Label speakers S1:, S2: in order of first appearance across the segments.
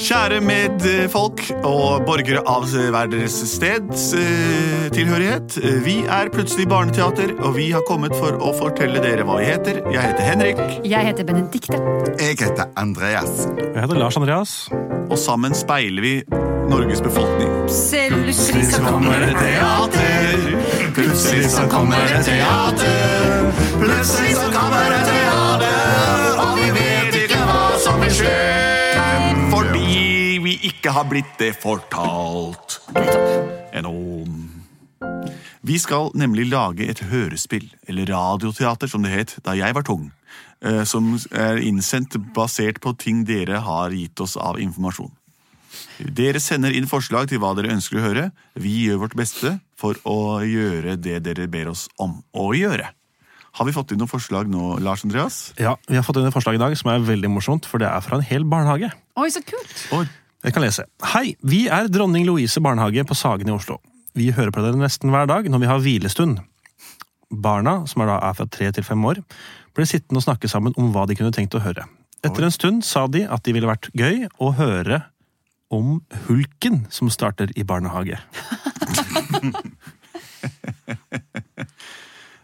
S1: Kjære medfolk og borgere av hver deres steds eh, tilhørighet. Vi er Plutselig barneteater, og vi har kommet for å fortelle dere hva vi heter. Jeg heter Henrik,
S2: Jeg heter Benedikte.
S3: Jeg heter Andreas.
S4: Jeg heter Lars Andreas.
S1: og sammen speiler vi Norges befolkning.
S2: Plutselig så
S1: plutselig så kommer det teater. Plutselig så kommer det teater, og vi vet ikke hva som vil skje. Fordi vi ikke har blitt det fortalt. Enn om Vi skal nemlig lage et hørespill, eller radioteater som det het da jeg var tung. eh, Som er innsendt basert på ting dere har gitt oss av informasjon. Dere sender inn forslag til hva dere ønsker å høre. Vi gjør vårt beste for å gjøre det dere ber oss om å gjøre. Har vi fått inn noen forslag nå, Lars Andreas?
S4: Ja, Vi har fått inn et forslag i dag som er veldig morsomt, for det er fra en hel barnehage.
S2: Oi, så kult!
S1: Oi.
S4: Jeg kan lese. Hei, vi er Dronning Louise barnehage på Sagen i Oslo. Vi hører på dere nesten hver dag når vi har hvilestund. Barna, som er da er fra tre til fem år, ble sittende og snakke sammen om hva de kunne tenkt å høre. Etter en stund sa de at det ville vært gøy å høre om hulken som starter i barnehage.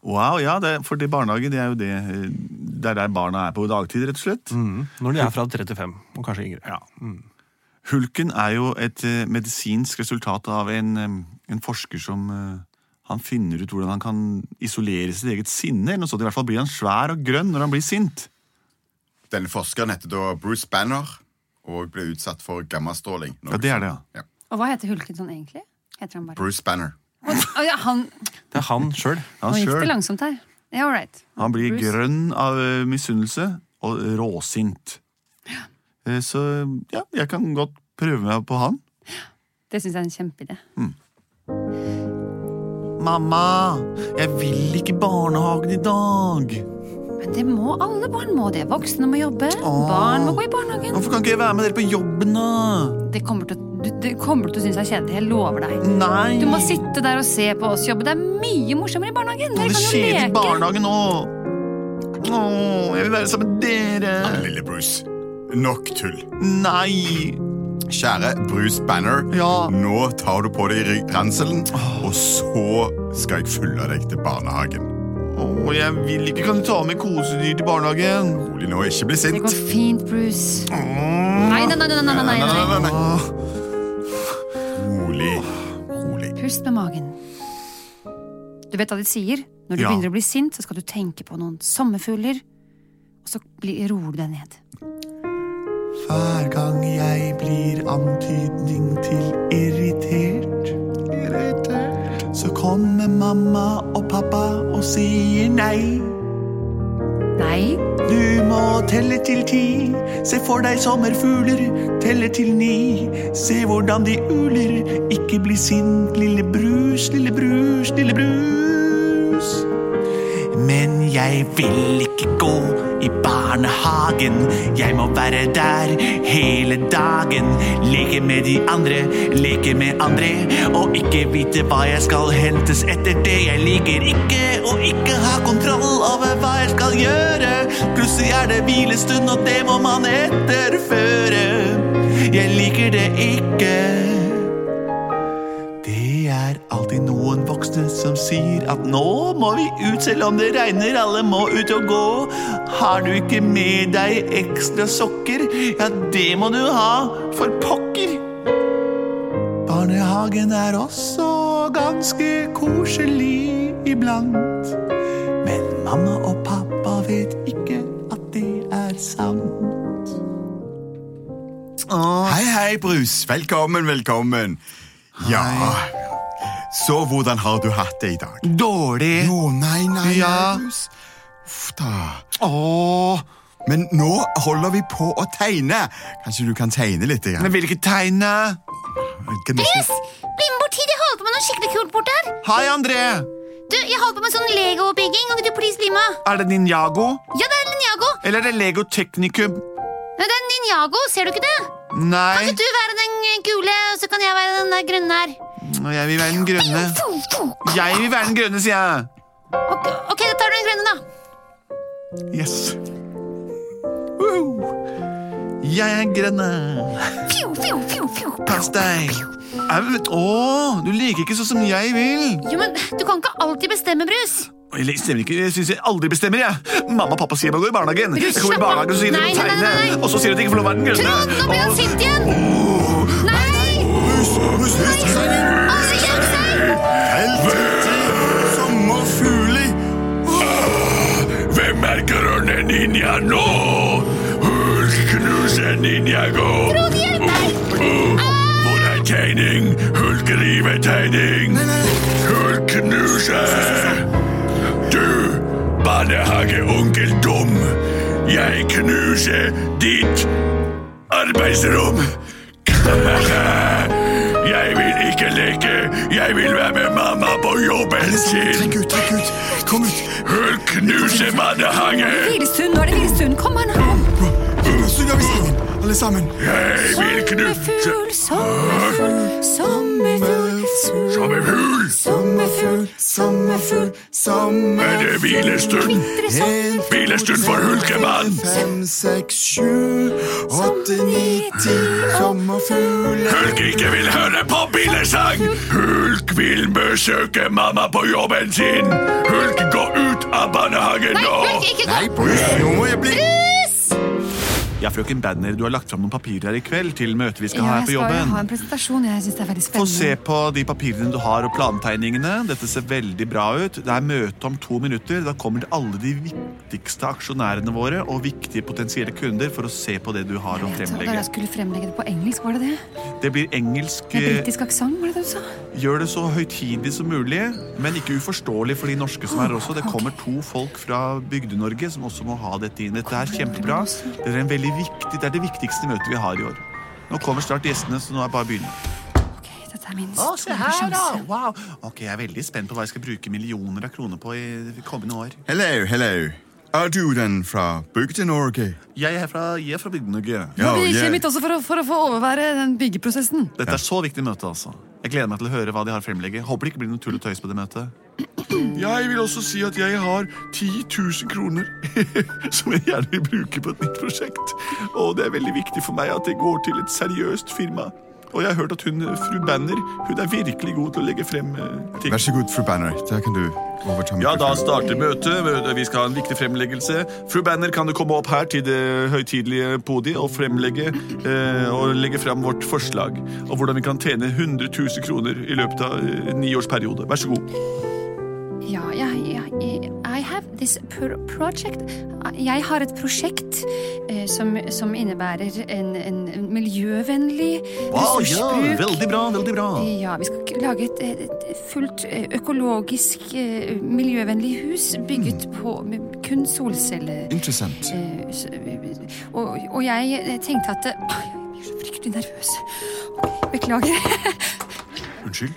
S1: Wow, ja, det, for det barnehage det er jo det, eh, det er der barna er på dagtid, rett og slett.
S4: Mm. Når de er fra tre til fem, og kanskje yngre.
S1: Hulken er jo et eh, medisinsk resultat av en, eh, en forsker som eh, han finner ut hvordan han kan isolere sitt eget sinne. eller noe sånt. I hvert fall blir han svær og grønn når han blir sint.
S3: Denne forskeren heter da Bruce Banner og ble utsatt for gammastråling.
S1: Ja, det er det, ja.
S2: Og hva heter hulken sånn egentlig? Heter han bare
S3: Bruce Banner.
S2: Å, ja, han,
S4: Det er han sjøl.
S1: Han,
S2: Nå gikk
S1: selv,
S2: det langsomt her. Ja, all right.
S1: han blir
S2: Bruce.
S1: grønn av eh, misunnelse og råsint. Eh, Så ja, jeg kan godt prøve meg på han.
S2: Det syns jeg er en kjempeidé.
S1: Mamma, jeg vil ikke i barnehagen i dag.
S2: Men det må alle barn må det. Voksne må jobbe,
S1: Åh.
S2: barn må gå i barnehagen.
S1: Hvorfor kan ikke jeg være med dere på jobben, da?
S2: Det kommer til, å- du, det kommer til å synes det er kjedelig. Jeg lover deg.
S1: Nei!
S2: Du må sitte der og se på oss jobbe. Det er mye morsommere i barnehagen.
S1: Det
S2: Dere
S1: er
S2: kan jo
S1: kjedelig i
S2: leke.
S1: barnehagen nå. Å, jeg vil være sammen med dere.
S3: Lille Bruce. Nok tull.
S1: Nei!
S3: Kjære Bruce Banner,
S1: Ja.
S3: nå tar du på deg ry- ranselen, og så skal jeg følge deg til barnehagen.
S1: Å, jeg vil ikke. Kan du ta med kosedyr til barnehagen?
S3: Rolig nå, ikke bli
S2: Det
S3: sint.
S2: går fint, Bruce. Nei, nei, nei, nei, nei, nei, nei, nei.
S1: Åh,
S3: Rolig. Rolig.
S2: Pust med magen. Du vet hva de sier? Når du
S1: Ja.
S2: begynner å bli sint, så skal du tenke på noen sommerfugler. Og så blir, roer du deg ned.
S1: Hver gang jeg blir antydning til irritert, så kommer mamma og pappa og sier nei.
S2: Nei,
S1: Du må telle til ti, se for deg sommerfugler, telle til ni. Se hvordan de uler, ikke bli sint, lille brus, lille brus, lille brus. Men jeg vil ikke gå i barnehagen, jeg må være der hele dagen. Leke med de andre, leke med andre, og ikke vite hva jeg skal hentes etter det. Jeg liker ikke å ikke ha kontroll over hva jeg skal gjøre. Plutselig er det hvilestund, og det må man etterføre. Jeg liker det ikke. Det er alltid noen voksne som sier at nå må vi ut selv om det regner, alle må ut og gå. Har du ikke med deg ekstra sokker, Ja, det må du ha, for pokker! Barnehagen er også ganske koselig iblant. Men mamma og pappa vet ikke at det er sant. Åh,
S3: Hei, hei, Brus. Velkommen, velkommen. Ja Så hvordan har du hatt det i dag?
S1: dårlig.
S3: Jo, nei, nei,
S1: Ja.
S3: nei, Brus. Uff da.
S1: Åh,
S3: Men nå holder vi på å tegne. Kanskje du kan tegne litt? Ja.
S1: men hvilket tegn?
S3: Brus!
S5: Bli med bort hit, jeg holder på med noe skikkelig kult bort her.
S1: Hei, André!
S5: Du, jeg holder på med sånn Lego-bygging. Kan ikke du please bli med?
S1: Er det Ninjago?
S5: Ja, det er Ninjago.
S1: Eller er det Lego Teknikum?
S5: Ja, det er Ninjago, ser du ikke det? Kan
S1: Nei,
S5: ikke du være den eh, gule, og så kan jeg være den der grønne her?
S1: jeg vil være den grønne.
S5: Ok,
S1: Jeg vil være den grønne, sier jeg.
S5: ok, da tar du den grønne, da.
S1: Yes. Woo! Jeg er grønne.
S5: Fjo, fjo, fjo, fjo.
S1: Pass deg. Au! Å, du liker ikke sånn som jeg vil.
S5: Jo, men du kan ikke alltid bestemme, Brus.
S1: Eller jeg stemmer ikke, jeg syns jeg aldri bestemmer, jeg. Mamma og pappa sier man går i barnehagen.
S5: Brus,
S1: Jeg kommer i
S5: slapp av.
S1: barnehagen, så sier de
S5: Nei,
S1: å
S5: nei, nei,
S1: tegne.
S5: nei, nei.
S1: Og så sier de at de ikke får lov å være den grønne.
S5: Trond, nå blir han
S1: Og-
S5: sint igjen. Nei!
S3: Brus, brus, brus.
S5: Aldri kjøp seg!
S3: Helt riktig. Sommerfugler.
S6: Hvem er grønne ninja nå? Hulknuse ninjago.
S5: Trond, hjelp meg!
S6: Hvor er tegning? Hulkrivetegning. Hulknuse. Du, barnehageonkel Dum. Jeg knuser ditt arbeidsrom. Jeg vil ikke leke. Jeg vil være med mamma på jobben sin.
S3: Trekk ut, trekk ut. Kom ut.
S6: Hulknuse barnehage.
S2: Hvilestund, nå er det Hvilestund. Kom her nå.
S3: Syng av i sangen, alle sammen.
S6: Jeg vil knuse
S2: Sommerfugl, sommerfugl, sommerfugl,
S6: som en fugl.
S2: sommerfugl, sommerfugl,
S6: Er det hvilestund?
S2: sommerfugl.
S6: Hvilestund for hulkemann.
S3: Fem, seks, sju, åtte, ni, ti. Sommerfugler.
S6: Hulk ikke vil høre på bilesang. Hulk vil besøke mamma på jobben sin. Hulk, gå ut av barnehagen
S5: Nei,
S6: nå.
S5: Hulk, ikke gå!
S3: Brus, nå må jeg bli
S1: Ja, frøken Banner, du har lagt fram noen papirer her i kveld til møtet vi skal ha
S2: Ja,
S1: her
S2: jeg
S1: på
S2: skal jo
S1: jobben.
S2: ha en presentasjon. Jeg synes det er veldig
S1: Få se
S2: spennende.
S1: på de papirene du har og plantegningene. Dette ser veldig bra ut. Det er møte om to minutter. Da kommer alle de viktigste aksjonærene våre og viktige potensielle kunder for å se på det du har å
S2: Jeg trodde
S1: fremlegge.
S2: jeg skulle fremlegge det på engelsk, var det det?
S1: Det blir engelsk.
S2: Med
S1: eh,
S2: britisk aksent, var det det du sa?
S1: Gjør det så høytidelig som mulig, men ikke uforståelig for de norske som er her også. Det kommer to folk fra Bygde-Norge som også må ha dette inn. Dette er kjempebra. Det er, en veldig viktig, det er det viktigste møtet vi har i år. Nå kommer snart gjestene, så nå er det bare å begynne.
S2: Ok, dette er min
S1: Å, se
S2: store
S1: her, da!
S2: sjanse.
S1: Wow. Ok, Jeg er veldig spent på hva jeg skal bruke millioner av kroner på i det kommende år.
S3: Hello, hello. Er du den fra Bygde-Norge?
S1: Jeg er fra, jeg er fra Bygde-Norge.
S2: Nå blir
S3: yeah.
S2: ikke mitt også for å, for å få overvære den byggeprosessen.
S1: Dette er så viktig møte, altså. Jeg gleder meg til å høre hva de har å fremlegge. Håper det ikke blir noe tull og tøys på det møtet. Jeg vil også si at jeg har 10 000 kroner som jeg gjerne vil bruke på et nytt prosjekt. Og det er veldig viktig for meg at det går til et seriøst firma. Og jeg har hørt at hun, fru Banner hun er virkelig god til å legge frem eh, ting.
S3: Vær så god, fru Banner. Der kan du overta
S1: Ja, da
S3: mikrofonen.
S1: starter møtet. Møtet- Vi skal ha en viktig fremleggelse. Fru Banner, kan du komme opp her til det høytidelige podiet og fremlegge eh, og legge fram vårt forslag og hvordan vi kan tjene 100 000 kroner i løpet av eh, en niårsperiode. Vær så god.
S2: Ja, jeg, jeg, jeg- I have this pro project. Jeg har et prosjekt eh, som, som innebærer en, en miljøvennlig ressursbruk.
S1: veldig bra, veldig bra.
S2: Ja, vi skal k- lage et, et et fullt eh, økologisk, eh, miljøvennlig hus bygget
S1: Mm.
S2: på med kun solceller.
S3: Interessant.
S2: Eh, s- Og, og jeg eh, tenkte at eh, ah, Jeg blir så fryktelig nervøs. Beklager.
S1: Unnskyld.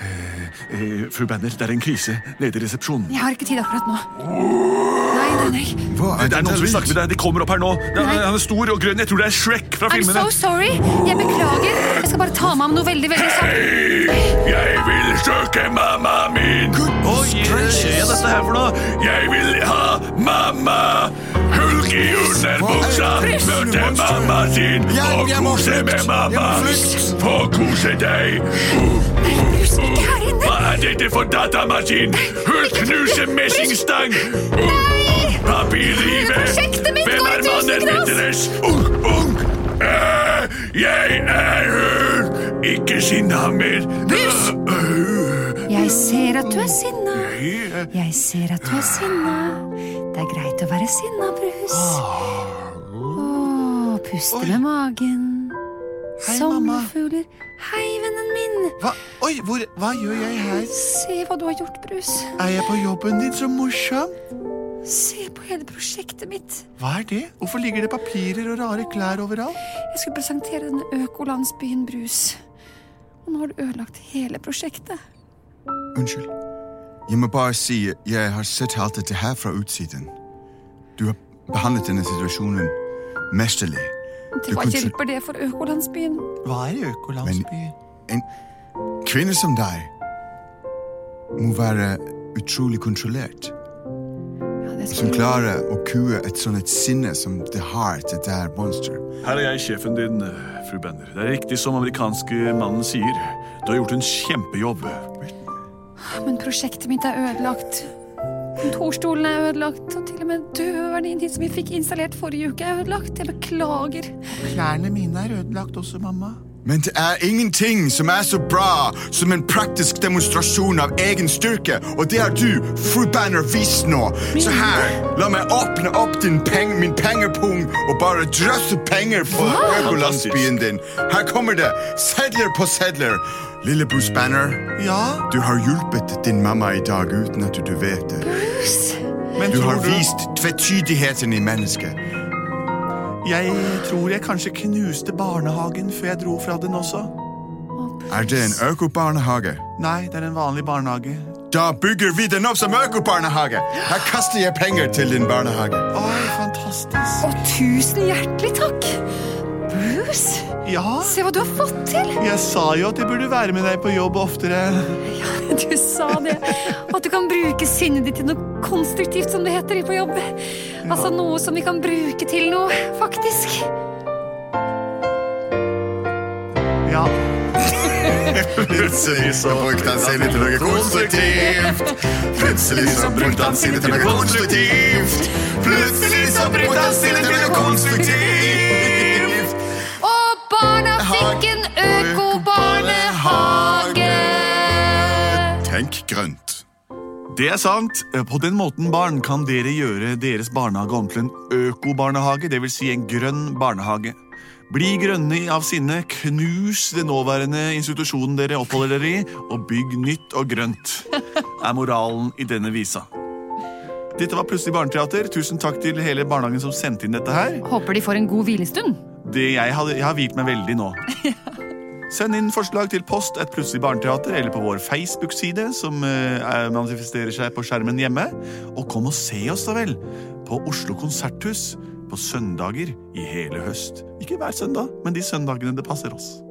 S1: Eh, eh, fru Banner, det er en krise nede i resepsjonen.
S2: Jeg har ikke tid akkurat nå. Nei, nei, nei.
S3: Hva
S1: Det er noen som vil snakke med deg. De kommer opp her nå. Det er,
S2: Nei.
S1: han er stor og grønn. Jeg tror det er Shrek fra
S2: I'm
S1: filmene.
S2: so sorry. Jeg beklager. Jeg skal bare ta meg av noe veldig, veldig saklig.
S6: Jeg vil søke mamma min.
S1: Oi, skjer dette her for noe?
S6: Jeg vil ha mamma. Hulk i underbuksa. Møte mamma sin og kose med mamma. Få kose deg. Uh,
S2: Brus, ikke her inne.
S6: Hva er dette for datamaskin? Hun knuser messingstang! Papirrive!
S2: Prosjektet mitt
S6: Hvem
S2: går i
S6: er mannen
S2: tusen knas!
S6: med dress? Ung, ung,
S7: Jeg er øh, ikke sinna mer. Buss!
S2: Jeg ser at du er sinna. Jeg ser at du er sinna. Det er greit å være sinna, Brus. Åh, puste med magen.
S1: Hei, mamma.
S2: Sommerfugler. Hei, vennen min.
S1: Hva, oi, hvor, hva gjør jeg her?
S2: Se hva du har gjort, Brus.
S1: Er jeg på jobben din? Så morsom!
S2: Se på hele prosjektet mitt.
S1: Hva er det? Hvorfor ligger det papirer og rare klær overalt?
S2: Jeg skulle presentere denne økolandsbyen Brus. Og nå har du ødelagt hele prosjektet.
S3: Unnskyld. Jeg må bare si jeg har sett alt dette her fra utsiden. Du har behandlet denne situasjonen mesterlig. Du
S2: Til hva
S3: kunne-
S2: hjelper det for økolandsbyen?
S1: Hva er økolandsby?
S3: En kvinne som deg må være utrolig kontrollert.
S2: Ja, det
S3: Som
S2: skulle-
S3: klarer å kue et sånt et sinne som det har, det der monster.
S7: Her er jeg sjefen din, øh, fru Bender. Det er riktig som amerikanske mannen sier. Du har gjort en kjempejobb.
S2: Men prosjektet mitt er ødelagt. Kontorstolen er ødelagt, og til og med døren din hit som vi fikk installert forrige uke, er ødelagt. Jeg beklager.
S1: Klærne mine er ødelagt også, mamma.
S3: Men det er ingenting som er så bra som en praktisk demonstrasjon av egen styrke, og det har du, fru Banner, vist nå. Så her, la meg åpne opp din peng, min pengepung og bare drøsse penger på økolandsbyen din. Her kommer det, sedler på sedler. Lille Bruce Banner,
S1: Ja,
S3: du har hjulpet din mamma i dag uten at du vet det.
S1: men
S3: Du
S1: tror
S3: har vist tvetydigheten i mennesket.
S1: Jeg tror jeg kanskje knuste barnehagen før jeg dro fra den også.
S3: Er det en økobarnehage?
S1: Nei, det er en vanlig barnehage.
S3: Da bygger vi den opp som økobarnehage. Her kaster jeg penger til din barnehage.
S1: Oi, fantastisk.
S2: Og tusen hjertelig takk! Bruce,
S1: Ja,
S2: se hva du har fått til!
S1: jeg sa jo at jeg burde være med deg på jobb oftere.
S2: Du sa det. At du kan bruke sinnet ditt til noe konstruktivt, som det heter på jobb. Altså noe som vi kan bruke til noe, faktisk.
S1: Ja,
S3: Plutselig så brukte han sinnet til noe konstruktivt. Plutselig så brukte han sinnet til noe konstruktivt. Plutselig så brukte han sinnet til noe konstruktivt.
S2: Og barna fikk en økobarnehage!
S3: Tenk grønt.
S1: det er sant. Eh, På den måten, barn, kan dere gjøre deres barnehage om til en økobarnehage, dvs. Si en grønn barnehage. Bli grønne av sinne, knus den nåværende institusjonen dere oppholder dere i, og bygg nytt og grønt, er moralen i denne visa. Dette var Plutselig barneteater. Tusen takk til hele barnehagen som sendte inn dette her.
S2: Håper de får en god hvilestund.
S1: Det jeg, hadde, jeg har hvilt meg veldig nå. Send inn forslag til post et plutselig barneteater eller på vår Facebook-side, som eh, er- manifesterer seg på skjermen hjemme. Og kom og se oss, da vel, på Oslo Konserthus på søndager i hele høst. Ikke hver søndag, men de søndagene det passer oss.